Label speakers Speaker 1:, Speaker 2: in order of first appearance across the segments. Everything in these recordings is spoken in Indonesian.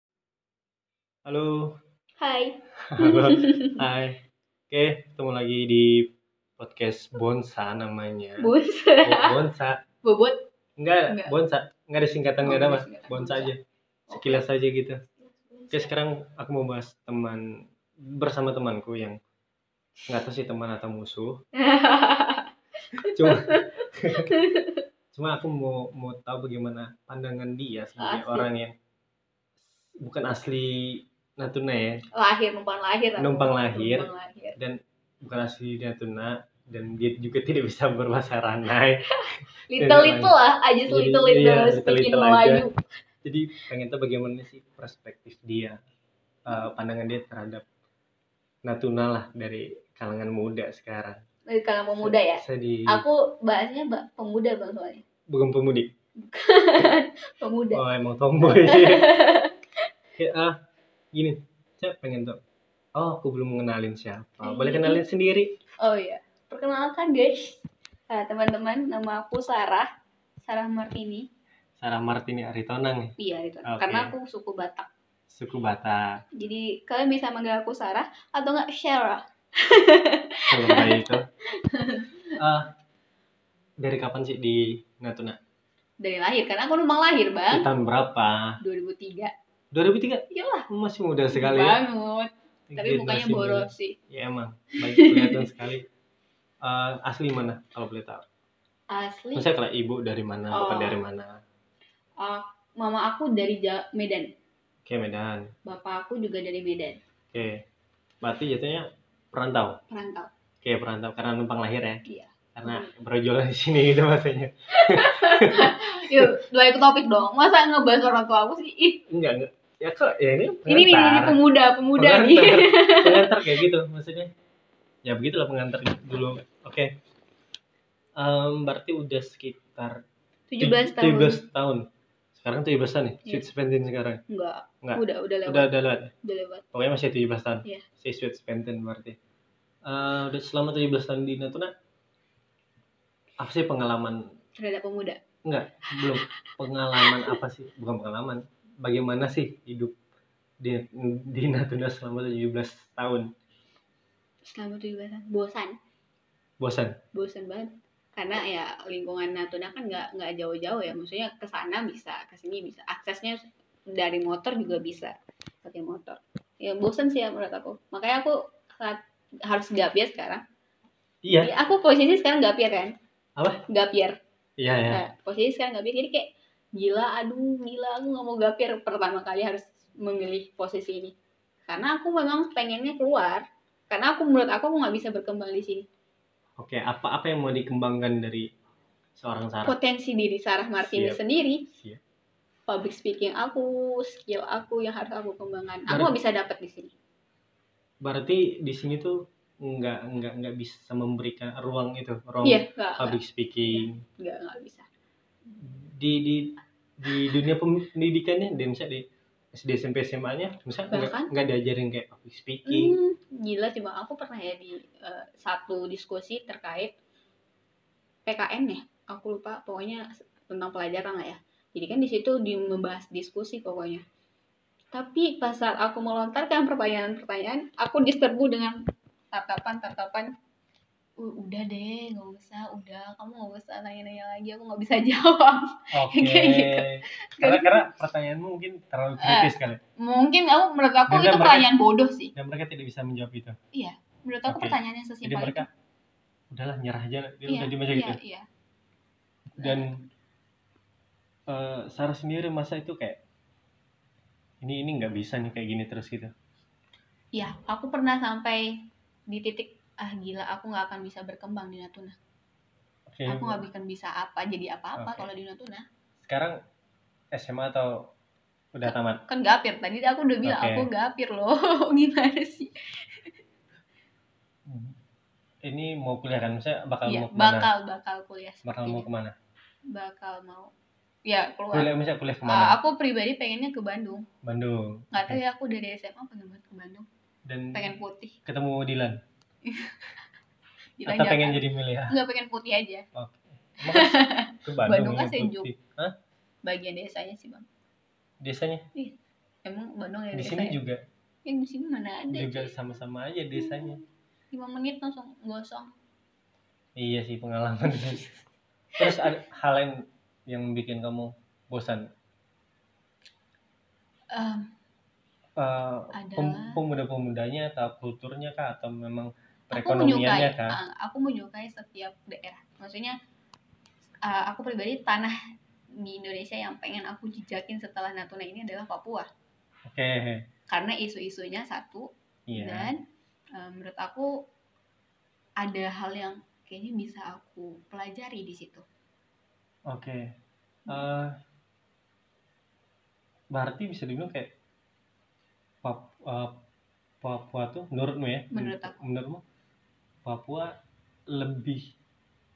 Speaker 1: Halo.
Speaker 2: Hai.
Speaker 1: Halo. Hai. Oke, ketemu lagi di podcast Bonsa namanya. Bo-
Speaker 2: Bonsa.
Speaker 1: Bonsa.
Speaker 2: Bobot.
Speaker 1: Enggak,
Speaker 2: Enggak.
Speaker 1: Bonsa. Enggak ada singkatan,
Speaker 2: Oh,
Speaker 1: enggak Kan ada,
Speaker 2: enggak
Speaker 1: Mas.
Speaker 2: ada singkatan.
Speaker 1: Bonsa
Speaker 2: Bonsa.
Speaker 1: aja. Sekilas aja gitu. Oke, sekarang aku mau bahas teman bersama temanku yang nggak tahu sih teman atau musuh. Cuma cuma aku mau mau tahu bagaimana pandangan dia sebagai
Speaker 2: Asli.
Speaker 1: orang yang bukan asli Natuna ya,
Speaker 2: lahir, numpang lahir. atau-
Speaker 1: Numpang lahir.
Speaker 2: Numpang lahir.
Speaker 1: bukan asli Natuna dan dia juga tidak bisa berbahasa Ranai.
Speaker 2: Little little lah, aja
Speaker 1: Jadi,
Speaker 2: little
Speaker 1: iya,
Speaker 2: little speaking
Speaker 1: little-little aja.
Speaker 2: Melayu.
Speaker 1: Jadi pengen tahu bagaimana sih perspektif dia, eh, pandangan dia terhadap Natuna lah dari kalangan muda sekarang.
Speaker 2: Dari kalangan pemuda ya.
Speaker 1: Saya di
Speaker 2: Aku bahasnya ba- pemuda bang soalnya.
Speaker 1: bukan pemudi.
Speaker 2: Pemuda.
Speaker 1: Oh emang tomboy. ya, ah, gini, saya pengen tahu. Oh, aku belum mengenalin
Speaker 2: Iya.
Speaker 1: siapa. Boleh kenalin sendiri.
Speaker 2: Oh iya. Perkenalkan guys. Nah, teman-teman, nama aku Sarah. Sarah Martini.
Speaker 1: Sarah Martini Aritonang,
Speaker 2: Iya itu.
Speaker 1: Oke.
Speaker 2: Karena aku suku Batak.
Speaker 1: suku Batak.
Speaker 2: Jadi kalian bisa manggil aku Sarah atau enggak Sarah.
Speaker 1: Kalau kayak itu. Ah, dari kapan sih di Natuna?
Speaker 2: Dari lahir, karena aku numpang lahir
Speaker 1: Di
Speaker 2: bang.
Speaker 1: tahun berapa?
Speaker 2: 2003.
Speaker 1: 2003?
Speaker 2: Iyalah.
Speaker 1: Masih muda sekali ya.
Speaker 2: Banget. Tapi
Speaker 1: Generasi
Speaker 2: mukanya
Speaker 1: muda.
Speaker 2: boros sih.
Speaker 1: Ya emang, baik kelihatan sekali. Eh, asli mana kalau boleh tahu?
Speaker 2: Asli.
Speaker 1: Maksudnya kalau ibu dari mana, bapak
Speaker 2: Oh.
Speaker 1: dari mana?
Speaker 2: ah, mama aku dari Ja- Medan.
Speaker 1: Oke, Medan.
Speaker 2: Bapak aku juga dari Medan.
Speaker 1: Oke. Berarti jatuhnya perantau.
Speaker 2: Perantau.
Speaker 1: Oke, perantau karena numpang lahir ya.
Speaker 2: Iya.
Speaker 1: Karena berjualan di sini gitu maksudnya.
Speaker 2: Yuk, dua ke topik dong. Masa ngebahas orang tua aku sih? Ih,
Speaker 1: Enggak, enggak. Ya kok ya ini
Speaker 2: ini nih, ini
Speaker 1: pengantar.
Speaker 2: pemuda, pemuda nih.
Speaker 1: pengantar. pengantar kayak gitu maksudnya. Ya begitulah pengantar dulu. Oke. Em, berarti udah sekitar
Speaker 2: 17 tahun.
Speaker 1: 17 tahun. Sekarang 17 tahun nih,
Speaker 2: Iya.
Speaker 1: sweet 17 sekarang.
Speaker 2: Enggak.
Speaker 1: Enggak.
Speaker 2: Udah, udah lewat.
Speaker 1: Udah udah lewat.
Speaker 2: Udah lewat.
Speaker 1: Pokoknya masih 17 tahun.
Speaker 2: Iya.
Speaker 1: Si sweet 17 berarti. Eh, udah selama 17 tahun di Natuna apa sih pengalaman
Speaker 2: Terhadap pemuda.
Speaker 1: enggak belum pengalaman apa sih bukan pengalaman bagaimana sih hidup di, di Natuna selama 17 tahun
Speaker 2: Selama 17 tahun. Bosan.
Speaker 1: bosan
Speaker 2: Bosan banget. Karena ya lingkungan Natuna kan nggak nggak jauh-jauh ya. Maksudnya ke sana bisa, ke sini bisa. Aksesnya dari motor juga bisa pakai motor. Ya bosan sih ya menurut aku. Makanya aku saat- harus gapir sekarang.
Speaker 1: iya
Speaker 2: Jadi aku posisi sekarang gapir kan?
Speaker 1: Apa?
Speaker 2: Gapir.
Speaker 1: iya ya
Speaker 2: Nah, posisi sekarang gapir. Jadi kayak gila, aduh gila aku nggak mau gapir pertama kali harus memilih posisi ini. Karena aku memang pengennya keluar. Karena aku menurut aku aku nggak bisa berkembang di sini.
Speaker 1: oke apa apa yang mau dikembangkan dari seorang Sarah Iya.
Speaker 2: Potensi diri Sarah Martini
Speaker 1: Siap.
Speaker 2: sendiri,
Speaker 1: Siap.
Speaker 2: public speaking aku, skill aku yang harus aku kembangkan. Aku nggak bisa dapat di sini.
Speaker 1: berarti di sini tuh nggak nggak nggak bisa memberikan ruang itu ruang
Speaker 2: Iya, nggak nggak-
Speaker 1: public speaking
Speaker 2: nggak nggak bisa.
Speaker 1: di di di dunia pendidikannya di misalnya di SD SMP SMA nya misalnya nggak
Speaker 2: Bahkan?
Speaker 1: nggak diajarin kayak public speaking
Speaker 2: Hmm, gila sih bang. Aku pernah ya di eh, satu diskusi terkait PKN ya. Aku lupa. Pokoknya tentang pelajaran lah ya. Jadi kan di situ di membahas diskusi pokoknya. Tapi pas saat aku melontarkan pertanyaan-pertanyaan, aku diserbu dengan tatapan-tatapan. "U- Udah deh, nggak usah. Udah, kamu nggak usah nanya-nanya lagi. Aku nggak bisa jawab.
Speaker 1: oke
Speaker 2: Kayak gitu. Ah.
Speaker 1: karena karena pertanyaanmu mungkin terlalu kritis kali
Speaker 2: Mungkin aku menurut aku
Speaker 1: Biasanya
Speaker 2: itu
Speaker 1: mereka-
Speaker 2: pertanyaan bodoh sih.
Speaker 1: dan mereka tidak bisa menjawab itu
Speaker 2: Menurut aku
Speaker 1: Oke.
Speaker 2: pertanyaannya
Speaker 1: jadi
Speaker 2: sesimpel
Speaker 1: mereka
Speaker 2: Ya, itu.
Speaker 1: udahlah nyerah aja dia
Speaker 2: Iya,
Speaker 1: udah diem aja gitu
Speaker 2: Iya, iya.
Speaker 1: dan eh, Sarah sendiri masa itu kayak ini ini nggak bisa nih kayak gini terus gitu
Speaker 2: Ya, aku pernah sampai di titik ah gila aku nggak akan bisa berkembang di Natuna.
Speaker 1: oke
Speaker 2: Aku nggak akan bisa apa jadi apa-apa
Speaker 1: Iya. Oke.
Speaker 2: kalau di Natuna.
Speaker 1: sekarang SMA atau udah tamat
Speaker 2: Kan gapir tadi aku udah bilang
Speaker 1: Oke.
Speaker 2: aku gapir loh. Gimana sih?
Speaker 1: ini mau kuliah kan misalnya bakal
Speaker 2: Hmm. Iya,
Speaker 1: mau kemana
Speaker 2: bakal bakal kuliah
Speaker 1: bakal mau
Speaker 2: sepertinya.
Speaker 1: kemana
Speaker 2: Bakal mau. Ya, keluar.
Speaker 1: kuliah misalnya kuliah kemana
Speaker 2: Ah, aku pribadi pengennya ke Bandung.
Speaker 1: Bandung
Speaker 2: Nggak tahu ya aku dari SMA pengen banget ke Bandung.
Speaker 1: dan
Speaker 2: Pengen putih.
Speaker 1: ketemu Dilan
Speaker 2: Di
Speaker 1: atau pengen
Speaker 2: Tanjakan.
Speaker 1: jadi milih ah,
Speaker 2: Nggak pengen putih aja.
Speaker 1: emang harus ke Bandung,
Speaker 2: Bandung kan
Speaker 1: ya,
Speaker 2: sejuk.
Speaker 1: Putih. Hah?
Speaker 2: Bagian desanya sih bang.
Speaker 1: desanya
Speaker 2: Emang Bandung
Speaker 1: di
Speaker 2: ya
Speaker 1: sini
Speaker 2: desanya.
Speaker 1: juga
Speaker 2: yang di sini Hmm. mana ada
Speaker 1: juga
Speaker 2: cuy.
Speaker 1: sama-sama aja desanya
Speaker 2: lima menit langsung gosong
Speaker 1: iya sih pengalaman terus ada hal yang yang bikin kamu bosan
Speaker 2: Em,
Speaker 1: Eh, pem-
Speaker 2: Adalah-
Speaker 1: pemuda-pemudanya atau kulturnya kah atau memang
Speaker 2: aku menyukai
Speaker 1: perekonomiannya kan? kah
Speaker 2: ah, aku menyukai setiap daerah maksudnya ah, aku pribadi tanah di Indonesia yang pengen aku jejakin setelah Natuna ini adalah Papua
Speaker 1: oke
Speaker 2: karena isu-isunya satu
Speaker 1: iya
Speaker 2: dan eh, menurut aku ada hal yang kayaknya bisa aku pelajari di situ
Speaker 1: oke Eh, berarti bisa dibilang kayak Pap- eh, Papua tuh menurutmu ya
Speaker 2: Menurut aku.
Speaker 1: menurutmu Papua lebih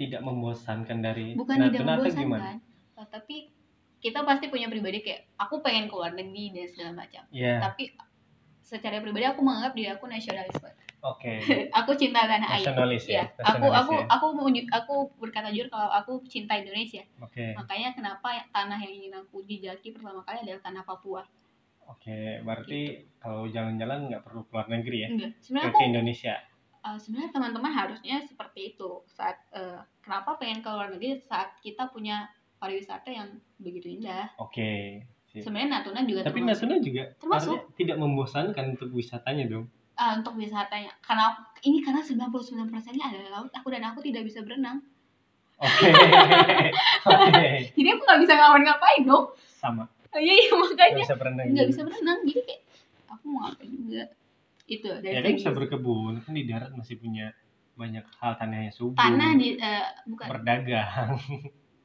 Speaker 1: tidak membosankan dari
Speaker 2: bukan
Speaker 1: Natuna
Speaker 2: tidak
Speaker 1: atau
Speaker 2: membosankan eh, tapi kita pasti punya pribadi kayak aku pengen ke luar negeri dan segala macam
Speaker 1: Iya,
Speaker 2: tapi secara pribadi aku menganggap diri aku nasionalis banget.
Speaker 1: oke.
Speaker 2: aku cinta tanah air
Speaker 1: Nasionalis ya.
Speaker 2: Iya, aku
Speaker 1: nasionalis
Speaker 2: aku
Speaker 1: ya.
Speaker 2: aku mau ju- aku berkata jujur kalau aku cinta Indonesia.
Speaker 1: Oke,
Speaker 2: Makanya kenapa tanah yang ingin aku jejaki pertama kali adalah tanah Papua.
Speaker 1: oke. Berarti kalau jalan-jalan nggak perlu keluar negeri ya.
Speaker 2: Enggak,
Speaker 1: Ke,
Speaker 2: Gitu. sebenarnya
Speaker 1: ke
Speaker 2: aku
Speaker 1: Indonesia.
Speaker 2: eh, sebenarnya teman-teman harusnya seperti itu saat eh, kenapa pengen ke luar negeri saat kita punya pariwisata yang begitu indah.
Speaker 1: Oke. sip.
Speaker 2: Sebenarnya Natuna juga
Speaker 1: Iya. Tapi
Speaker 2: termasuk,
Speaker 1: Natuna juga
Speaker 2: termasuk
Speaker 1: harusnya tidak membosankan untuk wisatanya dong.
Speaker 2: eh, untuk wisatanya. Karena ini karena 99%-nya adalah laut, aku dan aku tidak bisa berenang.
Speaker 1: Oke. Oke.
Speaker 2: Jadi aku nggak bisa ngapain-ngapain dong.
Speaker 1: Sama.
Speaker 2: Iya, iya makanya
Speaker 1: Nggak bisa berenang.
Speaker 2: nggak
Speaker 1: juga.
Speaker 2: bisa berenang jadi kayak aku mau apa juga itu dari
Speaker 1: Ya kan
Speaker 2: segi
Speaker 1: bisa berkebun. Kan di darat masih punya banyak hal tanahnya subur.
Speaker 2: tanah di
Speaker 1: Hmm.
Speaker 2: eh, bukan
Speaker 1: berdagang.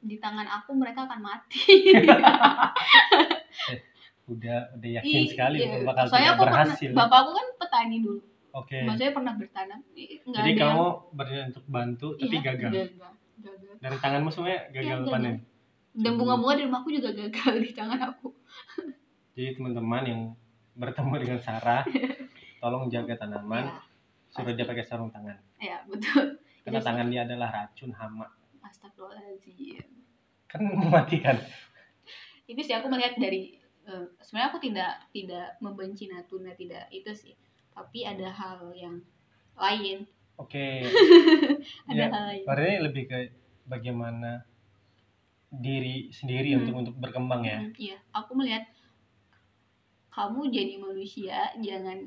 Speaker 2: di tangan aku mereka akan mati
Speaker 1: Udah udah yakin
Speaker 2: Iya,
Speaker 1: sekali
Speaker 2: iya.
Speaker 1: bakal
Speaker 2: soalnya
Speaker 1: tidak
Speaker 2: aku
Speaker 1: berhasil.
Speaker 2: pernah bapak aku kan petani dulu
Speaker 1: Oke.
Speaker 2: maksudnya pernah bertanam eh, nggak
Speaker 1: Jadi
Speaker 2: ada
Speaker 1: kamu
Speaker 2: yang-
Speaker 1: berniat untuk bantu tapi
Speaker 2: Iya,
Speaker 1: gagal.
Speaker 2: gagal gagal
Speaker 1: Dari tanganmu semuanya gagal
Speaker 2: Iya, gagal.
Speaker 1: panen.
Speaker 2: dan
Speaker 1: Hmm.
Speaker 2: bunga-bunga di rumahku juga gagal di tangan aku
Speaker 1: Jadi teman-teman yang bertemu dengan Sarah, tolong jaga tanaman,
Speaker 2: ya,
Speaker 1: suruh dia
Speaker 2: pasti.
Speaker 1: pakai sarung tangan.
Speaker 2: ya betul
Speaker 1: Karena
Speaker 2: Iya sih.
Speaker 1: tangan dia adalah racun hama.
Speaker 2: astagfirullahaladzim
Speaker 1: Kan mematikan.
Speaker 2: itu sih aku melihat dari eh, sebenarnya aku tidak tidak membenci Natuna tidak itu sih tapi ada hal yang lain
Speaker 1: Oke.
Speaker 2: ada
Speaker 1: ya,
Speaker 2: hal lain
Speaker 1: berarti lebih ke bagaimana diri sendiri
Speaker 2: Hmm.
Speaker 1: untuk untuk berkembang ya.
Speaker 2: Mm, iya aku melihat kamu jadi manusia jangan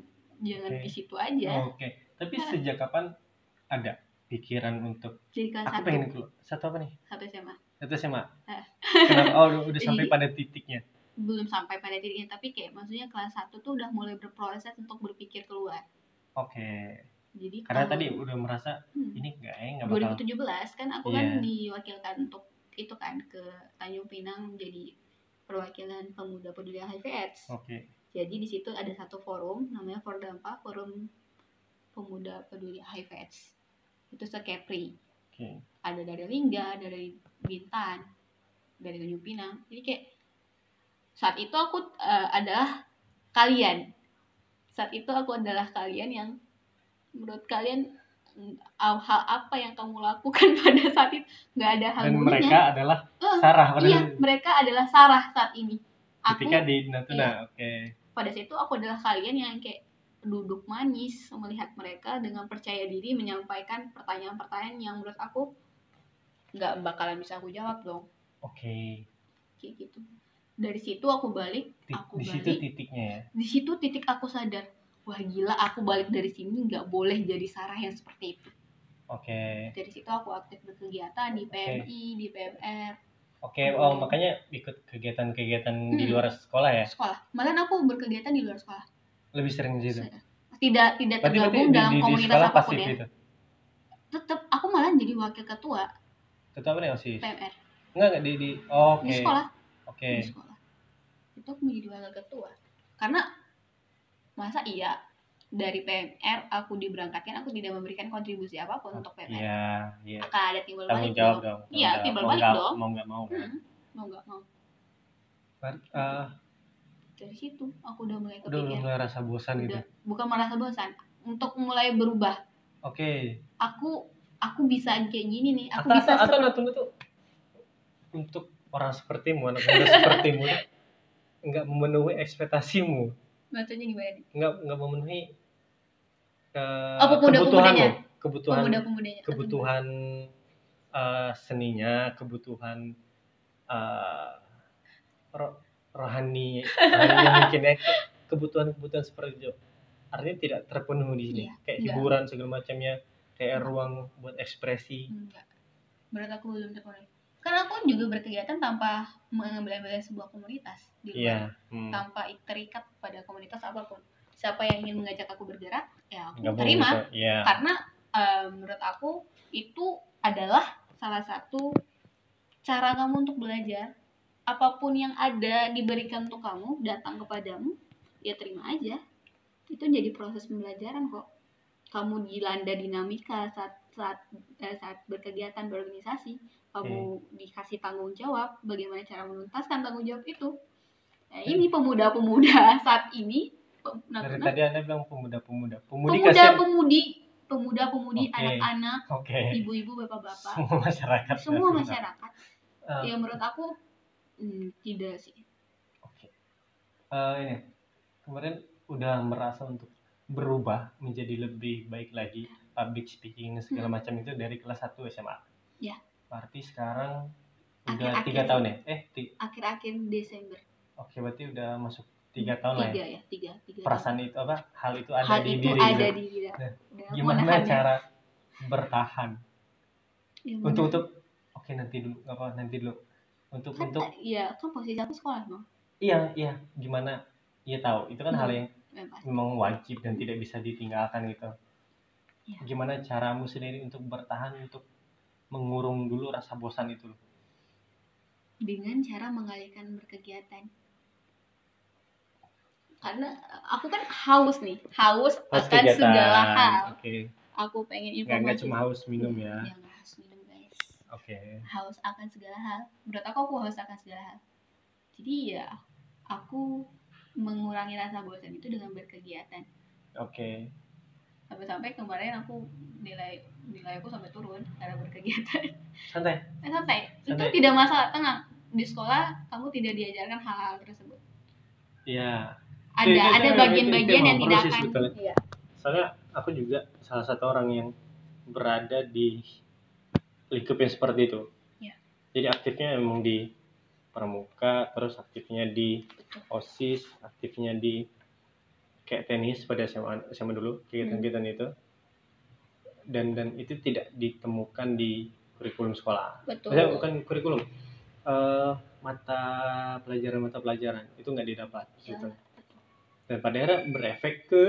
Speaker 2: jangan
Speaker 1: Oke. Oh,
Speaker 2: di situ aja
Speaker 1: Oke. Tapi
Speaker 2: Iya.
Speaker 1: sejak kapan ada pikiran untuk
Speaker 2: jadikan
Speaker 1: aku
Speaker 2: Nah, satu
Speaker 1: pengen keluar. Satu apa nih?
Speaker 2: satu SMA
Speaker 1: Satu SMA.
Speaker 2: Eh.
Speaker 1: Kenapa? Oh, udah, udah
Speaker 2: Jadi-
Speaker 1: sampai pada titiknya.
Speaker 2: belum sampai pada titiknya tapi kayak maksudnya kelas 1 tuh udah mulai berproses untuk berpikir keluar
Speaker 1: Oke.
Speaker 2: jadi
Speaker 1: Karena
Speaker 2: kalau-
Speaker 1: tadi udah merasa
Speaker 2: Hmm.
Speaker 1: ini enggak eh enggak bakal
Speaker 2: 2017 kan aku
Speaker 1: Iya.
Speaker 2: kan diwakilkan untuk itu kan ke Tanjung Pinang jadi perwakilan pemuda peduli HIV AIDS.
Speaker 1: Oke,
Speaker 2: Jadi di situ ada satu forum namanya Fordampa Forum Pemuda Peduli HIV AIDS. Itu sekepri.
Speaker 1: oke,
Speaker 2: Ada dari Lingga, dari Bintan, dari Tanjung Pinang. Jadi kayak saat itu aku eh, adalah kalian. Saat itu aku adalah kalian yang menurut kalian mm, hal apa yang kamu lakukan pada saat itu nggak ada hal
Speaker 1: Dan
Speaker 2: buruknya.
Speaker 1: mereka adalah
Speaker 2: Eh,
Speaker 1: Sarah pada
Speaker 2: iya, mereka adalah Sarah saat ini. Aku iya.
Speaker 1: ketika di Natuna. Oke,
Speaker 2: pada saat itu aku adalah kalian yang kayak duduk manis melihat mereka dengan percaya diri menyampaikan pertanyaan-pertanyaan yang menurut aku nggak bakalan bisa aku jawab dong
Speaker 1: oke.
Speaker 2: kayak gitu dari situ aku balik
Speaker 1: Ti-
Speaker 2: Aku
Speaker 1: Di situ
Speaker 2: balik.
Speaker 1: titiknya ya.
Speaker 2: di situ titik aku sadar wah gila aku balik dari sini nggak boleh jadi sarah yang seperti itu
Speaker 1: Oke,
Speaker 2: dari situ aku aktif berkegiatan di PMI di PMR
Speaker 1: oke. Oh makanya ikut kegiatan-kegiatan di
Speaker 2: Hmm.
Speaker 1: luar sekolah ya.
Speaker 2: sekolah malahan aku berkegiatan di luar sekolah
Speaker 1: Lebih sering di situ.
Speaker 2: tidak tidak
Speaker 1: Gitu. Berarti berarti
Speaker 2: tergabung
Speaker 1: di,
Speaker 2: dalam
Speaker 1: di, di
Speaker 2: komunitas
Speaker 1: sekolah
Speaker 2: apapun
Speaker 1: pasif
Speaker 2: ya
Speaker 1: itu.
Speaker 2: tetap aku malah jadi wakil ketua
Speaker 1: Ketua apa nih osis?
Speaker 2: PMR
Speaker 1: Enggak enggak di di. oh, Oke,
Speaker 2: di sekolah
Speaker 1: oke.
Speaker 2: di sekolah itu aku menjadi wakil ketua karena masa iya dari PMR aku diberangkatkan aku tidak memberikan kontribusi apapun untuk PMR
Speaker 1: Iya, iya.
Speaker 2: akan ada timbal
Speaker 1: Tanggung
Speaker 2: balik
Speaker 1: jawab
Speaker 2: dong.
Speaker 1: dong. tanggung
Speaker 2: Iya,
Speaker 1: jawab.
Speaker 2: timbal
Speaker 1: Mau
Speaker 2: balik
Speaker 1: nggak-
Speaker 2: dong.
Speaker 1: Mau nggak mau. kan?
Speaker 2: Hmm, mau nggak mau
Speaker 1: Bar- eh,
Speaker 2: dari situ aku udah mulai
Speaker 1: udah udah
Speaker 2: kepikiran
Speaker 1: mulai rasa bosan gitu.
Speaker 2: udah bukan merasa bosan untuk mulai berubah
Speaker 1: Oke.
Speaker 2: aku aku bisa kayak gini nih aku
Speaker 1: Atau
Speaker 2: bisa
Speaker 1: atau, atau
Speaker 2: se-
Speaker 1: Natuna tuh untuk orang sepertimu, anak muda sepertimu tuh nggak memenuhi ekspektasimu.
Speaker 2: Maksudnya gimana nih?
Speaker 1: nggak nggak memenuhi eh,
Speaker 2: Oh, pemuda-pemudanya.
Speaker 1: kebutuhan lo, kebutuhan
Speaker 2: Pemuda-pemudanya. atau gimana?
Speaker 1: kebutuhan eh, seninya, kebutuhan eh, ro- rohani, rohani mungkin ya, ke- kebutuhan-kebutuhan seperti itu. Artinya tidak terpenuhi di sini.
Speaker 2: Iya,
Speaker 1: kayak
Speaker 2: enggak.
Speaker 1: hiburan segala macamnya, kayak
Speaker 2: Enggak.
Speaker 1: ruang buat ekspresi.
Speaker 2: Enggak. Menurut aku belum terpenuhi. Karena aku juga berkegiatan tanpa mengambil-ambil sebuah komunitas di luar.
Speaker 1: Iya. hmm.
Speaker 2: tanpa terikat pada komunitas apapun. Siapa yang ingin mengajak aku bergerak, ya aku
Speaker 1: Gabung
Speaker 2: terima.
Speaker 1: gitu, Iya.
Speaker 2: Karena eh, menurut aku itu adalah salah satu cara kamu untuk belajar. Apapun yang ada diberikan untuk kamu, datang kepadamu, ya terima aja. Itu jadi proses pembelajaran kok. Kamu dilanda dinamika saat saat eh, saat berkegiatan berorganisasi, kamu
Speaker 1: Hmm.
Speaker 2: dikasih tanggung jawab, bagaimana cara menuntaskan tanggung jawab itu. Nah, ini pemuda-pemuda saat ini pe-
Speaker 1: Hmm. Dari
Speaker 2: nah,
Speaker 1: tadi Anda bilang pemuda-pemuda. Pemudi
Speaker 2: pemuda
Speaker 1: kasih.
Speaker 2: pemudi pemuda pemudi
Speaker 1: Oke.
Speaker 2: anak-anak
Speaker 1: Oke.
Speaker 2: ibu-ibu bapak-bapak
Speaker 1: Semua masyarakat.
Speaker 2: semua
Speaker 1: berarti.
Speaker 2: masyarakat
Speaker 1: Eh,
Speaker 2: ya menurut aku hmm, tidak sih
Speaker 1: Oke. Eh, ini kemarin udah merasa untuk berubah menjadi lebih baik lagi public speaking segala
Speaker 2: Hmm.
Speaker 1: macam itu dari kelas 1 SMA.
Speaker 2: Ya.
Speaker 1: Berarti sekarang udah
Speaker 2: Akhir-akhir
Speaker 1: tiga
Speaker 2: sih.
Speaker 1: tahun ya? Eh, ti-
Speaker 2: akhir-akhir Desember
Speaker 1: oke berarti udah masuk tiga tahun lah ya.
Speaker 2: tiga ya tiga tiga
Speaker 1: Perasaan itu apa? Hal itu ada
Speaker 2: hal
Speaker 1: di
Speaker 2: itu
Speaker 1: diri.
Speaker 2: ada
Speaker 1: gitu.
Speaker 2: di Ya, diri
Speaker 1: Nah,
Speaker 2: Dan aku
Speaker 1: Gimana
Speaker 2: menahannya.
Speaker 1: cara bertahan?
Speaker 2: Ya,
Speaker 1: Untuk
Speaker 2: benar.
Speaker 1: untuk oke nanti dulu nggak apa nanti dulu. Untuk
Speaker 2: kan
Speaker 1: untuk
Speaker 2: ya kan posisi aku sekolah bang
Speaker 1: iya iya gimana? Iya tahu itu kan hal
Speaker 2: Hmm.
Speaker 1: yang
Speaker 2: memang
Speaker 1: memang wajib dan tidak bisa ditinggalkan gitu.
Speaker 2: Iya.
Speaker 1: Gimana caramu sendiri untuk bertahan untuk mengurung dulu rasa bosan itu? loh?
Speaker 2: dengan cara mengalihkan berkegiatan karena aku kan haus nih haus
Speaker 1: Pas
Speaker 2: akan
Speaker 1: kegiatan.
Speaker 2: segala hal
Speaker 1: Oke.
Speaker 2: aku pengen
Speaker 1: Nggak nggak
Speaker 2: informasi
Speaker 1: cuma haus minum ya.
Speaker 2: Yang harus minum guys.
Speaker 1: Oke.
Speaker 2: Haus akan segala hal. Menurut aku aku haus akan segala hal. Jadi ya aku mengurangi rasa bosan itu dengan berkegiatan.
Speaker 1: Oke.
Speaker 2: Sampai-sampai kemarin aku nilai nilai aku sampai turun karena berkegiatan.
Speaker 1: Santai.
Speaker 2: Eh, Santai. Itu
Speaker 1: Santai.
Speaker 2: tidak masalah tengah. Di sekolah kamu tidak diajarkan hal-hal tersebut.
Speaker 1: Iya.
Speaker 2: Ada
Speaker 1: Itu- itu
Speaker 2: ada
Speaker 1: memang- itu
Speaker 2: bagian-bagian
Speaker 1: memang
Speaker 2: yang tidak
Speaker 1: proses,
Speaker 2: akan.
Speaker 1: betul.
Speaker 2: Iya.
Speaker 1: Soalnya aku juga salah satu orang yang berada di lingkup yang seperti itu.
Speaker 2: Iya.
Speaker 1: Jadi aktifnya emang di pramuka, terus aktifnya di OSIS, aktifnya di kayak tenis pada SMA SMA dulu kegiatan-kegiatan itu. Dan dan itu tidak ditemukan di kurikulum sekolah.
Speaker 2: Betul.
Speaker 1: Maksudnya bukan kurikulum. eh, mata pelajaran mata pelajaran itu nggak didapat
Speaker 2: Iya.
Speaker 1: gitu. Dan pada akhirnya berefek ke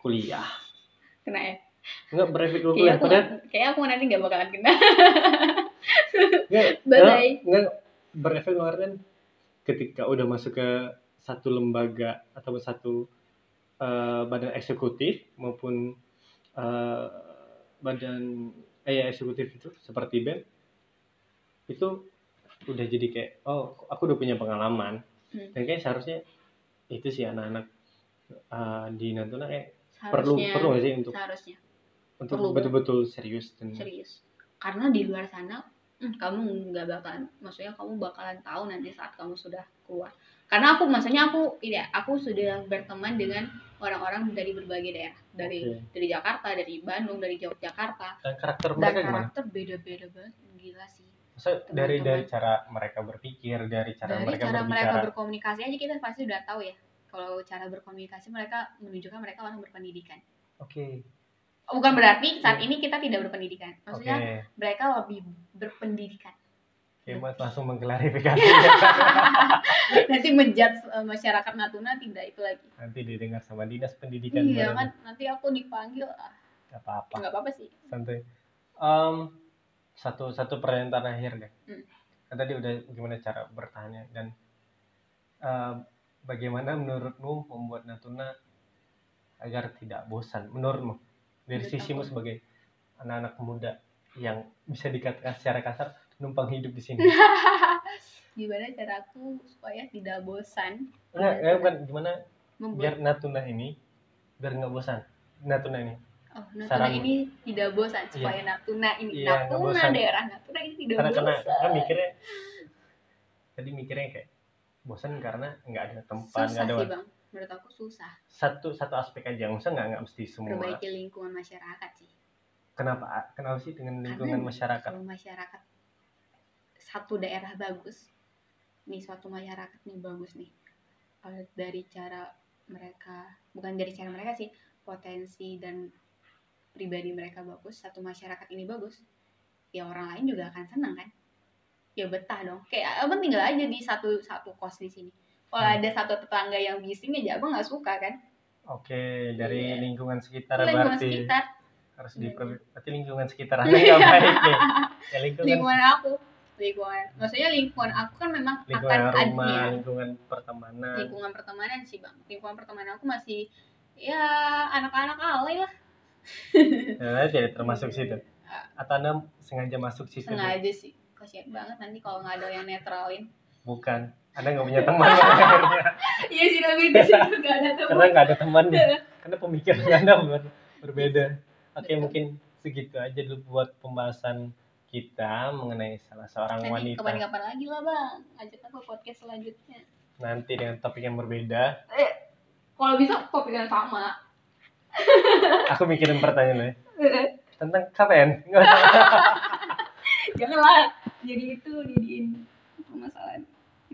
Speaker 1: kuliah.
Speaker 2: Kena ya.
Speaker 1: Enggak berefek ke
Speaker 2: Kayaknya
Speaker 1: kuliah.
Speaker 2: aku,
Speaker 1: Padahal
Speaker 2: kayaknya aku nanti nggak bakalan kena.
Speaker 1: enggak
Speaker 2: Bye-bye.
Speaker 1: enggak berefek kemarin kan ketika udah masuk ke satu lembaga atau satu eh, badan eksekutif maupun eh, badan eh ya, eksekutif itu seperti BEM itu udah jadi kayak oh aku udah punya pengalaman
Speaker 2: Hmm.
Speaker 1: dan kayak seharusnya itu sih anak-anak eh, di Natuna kayak
Speaker 2: Seharusnya,
Speaker 1: perlu perlu nggak sih untuk
Speaker 2: seharusnya.
Speaker 1: untuk
Speaker 2: perlu.
Speaker 1: betul-betul serius dan
Speaker 2: serius karena di luar sana hmm, kamu nggak bakalan maksudnya kamu bakalan tahu nanti saat kamu sudah keluar karena aku maksudnya aku tidak aku sudah berteman dengan orang-orang dari berbagai daerah dari
Speaker 1: Oke.
Speaker 2: dari Jakarta dari Bandung dari Yogyakarta
Speaker 1: dan karakter
Speaker 2: dan
Speaker 1: mereka gimana?
Speaker 2: karakter beda-beda banget gila sih
Speaker 1: Maksudnya dari
Speaker 2: teman-teman.
Speaker 1: dari cara mereka berpikir, dari cara
Speaker 2: dari
Speaker 1: mereka
Speaker 2: cara mereka
Speaker 1: berbicara.
Speaker 2: berkomunikasi aja kita pasti udah tahu ya kalau cara berkomunikasi mereka menunjukkan mereka orang berpendidikan Oh,
Speaker 1: Oke.
Speaker 2: bukan berarti saat ini kita tidak berpendidikan
Speaker 1: Iya. Oke.
Speaker 2: maksudnya mereka lebih berpendidikan
Speaker 1: Oke, Mas,
Speaker 2: Iya.
Speaker 1: langsung mengklarifikasi.
Speaker 2: nanti menjudge eh, masyarakat Natuna tidak itu lagi.
Speaker 1: Nanti didengar sama dinas pendidikan.
Speaker 2: Iya
Speaker 1: baru.
Speaker 2: kan, nanti aku dipanggil, ah,
Speaker 1: Gak apa-apa.
Speaker 2: nggak apa-apa sih.
Speaker 1: Santai. Em, satu satu pertanyaan terakhir deh.
Speaker 2: Hmm.
Speaker 1: Kan tadi udah gimana cara bertanya dan em, bagaimana menurutmu membuat Natuna agar tidak bosan? Menurutmu dari
Speaker 2: Menurut
Speaker 1: sisimu
Speaker 2: aku.
Speaker 1: sebagai anak-anak muda yang bisa dikatakan secara kasar numpang hidup di sini.
Speaker 2: Gimana cara aku supaya tidak bosan
Speaker 1: Enggak,
Speaker 2: Iya,
Speaker 1: eh,
Speaker 2: betul.
Speaker 1: bukan gimana biar
Speaker 2: membuat
Speaker 1: Natuna ini biar nggak bosan. Natuna ini.
Speaker 2: oh, Natuna
Speaker 1: saran.
Speaker 2: ini tidak bosan supaya Natuna ini
Speaker 1: Iya, nggak
Speaker 2: Natuna
Speaker 1: bosan.
Speaker 2: daerah Natuna ini tidak
Speaker 1: Karena karena
Speaker 2: bosan.
Speaker 1: kan mikirnya tadi mikirnya kayak bosan karena nggak ada tempat, nggak
Speaker 2: Susah
Speaker 1: ada
Speaker 2: sih bang, menurut aku susah
Speaker 1: satu satu aspek aja nggak usah nggak nggak mesti semua
Speaker 2: perbaiki lingkungan masyarakat sih
Speaker 1: kenapa kenapa sih dengan lingkungan
Speaker 2: Karena Iya.
Speaker 1: masyarakat
Speaker 2: kalau masyarakat satu daerah bagus nih suatu masyarakat nih bagus nih Eh, dari cara mereka bukan dari cara mereka sih potensi dan pribadi mereka bagus satu masyarakat ini bagus ya orang lain juga akan senang kan ya betah dong kayak abang tinggal aja di satu satu kos di sini kalau
Speaker 1: Hmm.
Speaker 2: ada satu tetangga yang bising aja abang nggak suka kan
Speaker 1: oke dari
Speaker 2: Iya.
Speaker 1: lingkungan sekitar
Speaker 2: lingkungan
Speaker 1: berarti
Speaker 2: sekitar
Speaker 1: harus
Speaker 2: Iya.
Speaker 1: diperbaiki berarti lingkungan sekitar anda nggak baik nih ya lingkungan
Speaker 2: lingkungan aku lingkungan maksudnya lingkungan aku kan memang
Speaker 1: lingkungan
Speaker 2: akan Iya. ada
Speaker 1: rumah
Speaker 2: ya,
Speaker 1: lingkungan pertemanan
Speaker 2: lingkungan pertemanan sih bang lingkungan pertemanan aku masih ya anak-anak alay lah
Speaker 1: nah, jadi termasuk situ atau anda sengaja masuk situ
Speaker 2: sengaja sih kasihan banget nanti kalau nggak ada yang netralin
Speaker 1: bukan anda nggak punya teman akhirnya.
Speaker 2: iya sih tapi itu sih nggak ada
Speaker 1: karena
Speaker 2: teman
Speaker 1: nggak ada teman nih karena pemikiran anda ber- berbeda oke
Speaker 2: Betul.
Speaker 1: mungkin segitu aja dulu buat pembahasan kita mengenai salah seorang
Speaker 2: nanti
Speaker 1: wanita
Speaker 2: kapan-kapan lagi lah bang ajak aku podcast selanjutnya
Speaker 1: nanti dengan topik yang berbeda
Speaker 2: kalau bisa topik yang sama
Speaker 1: aku mikirin pertanyaannya tentang KPN Nggak usah.
Speaker 2: janganlah jadi itu jadiin permasalahan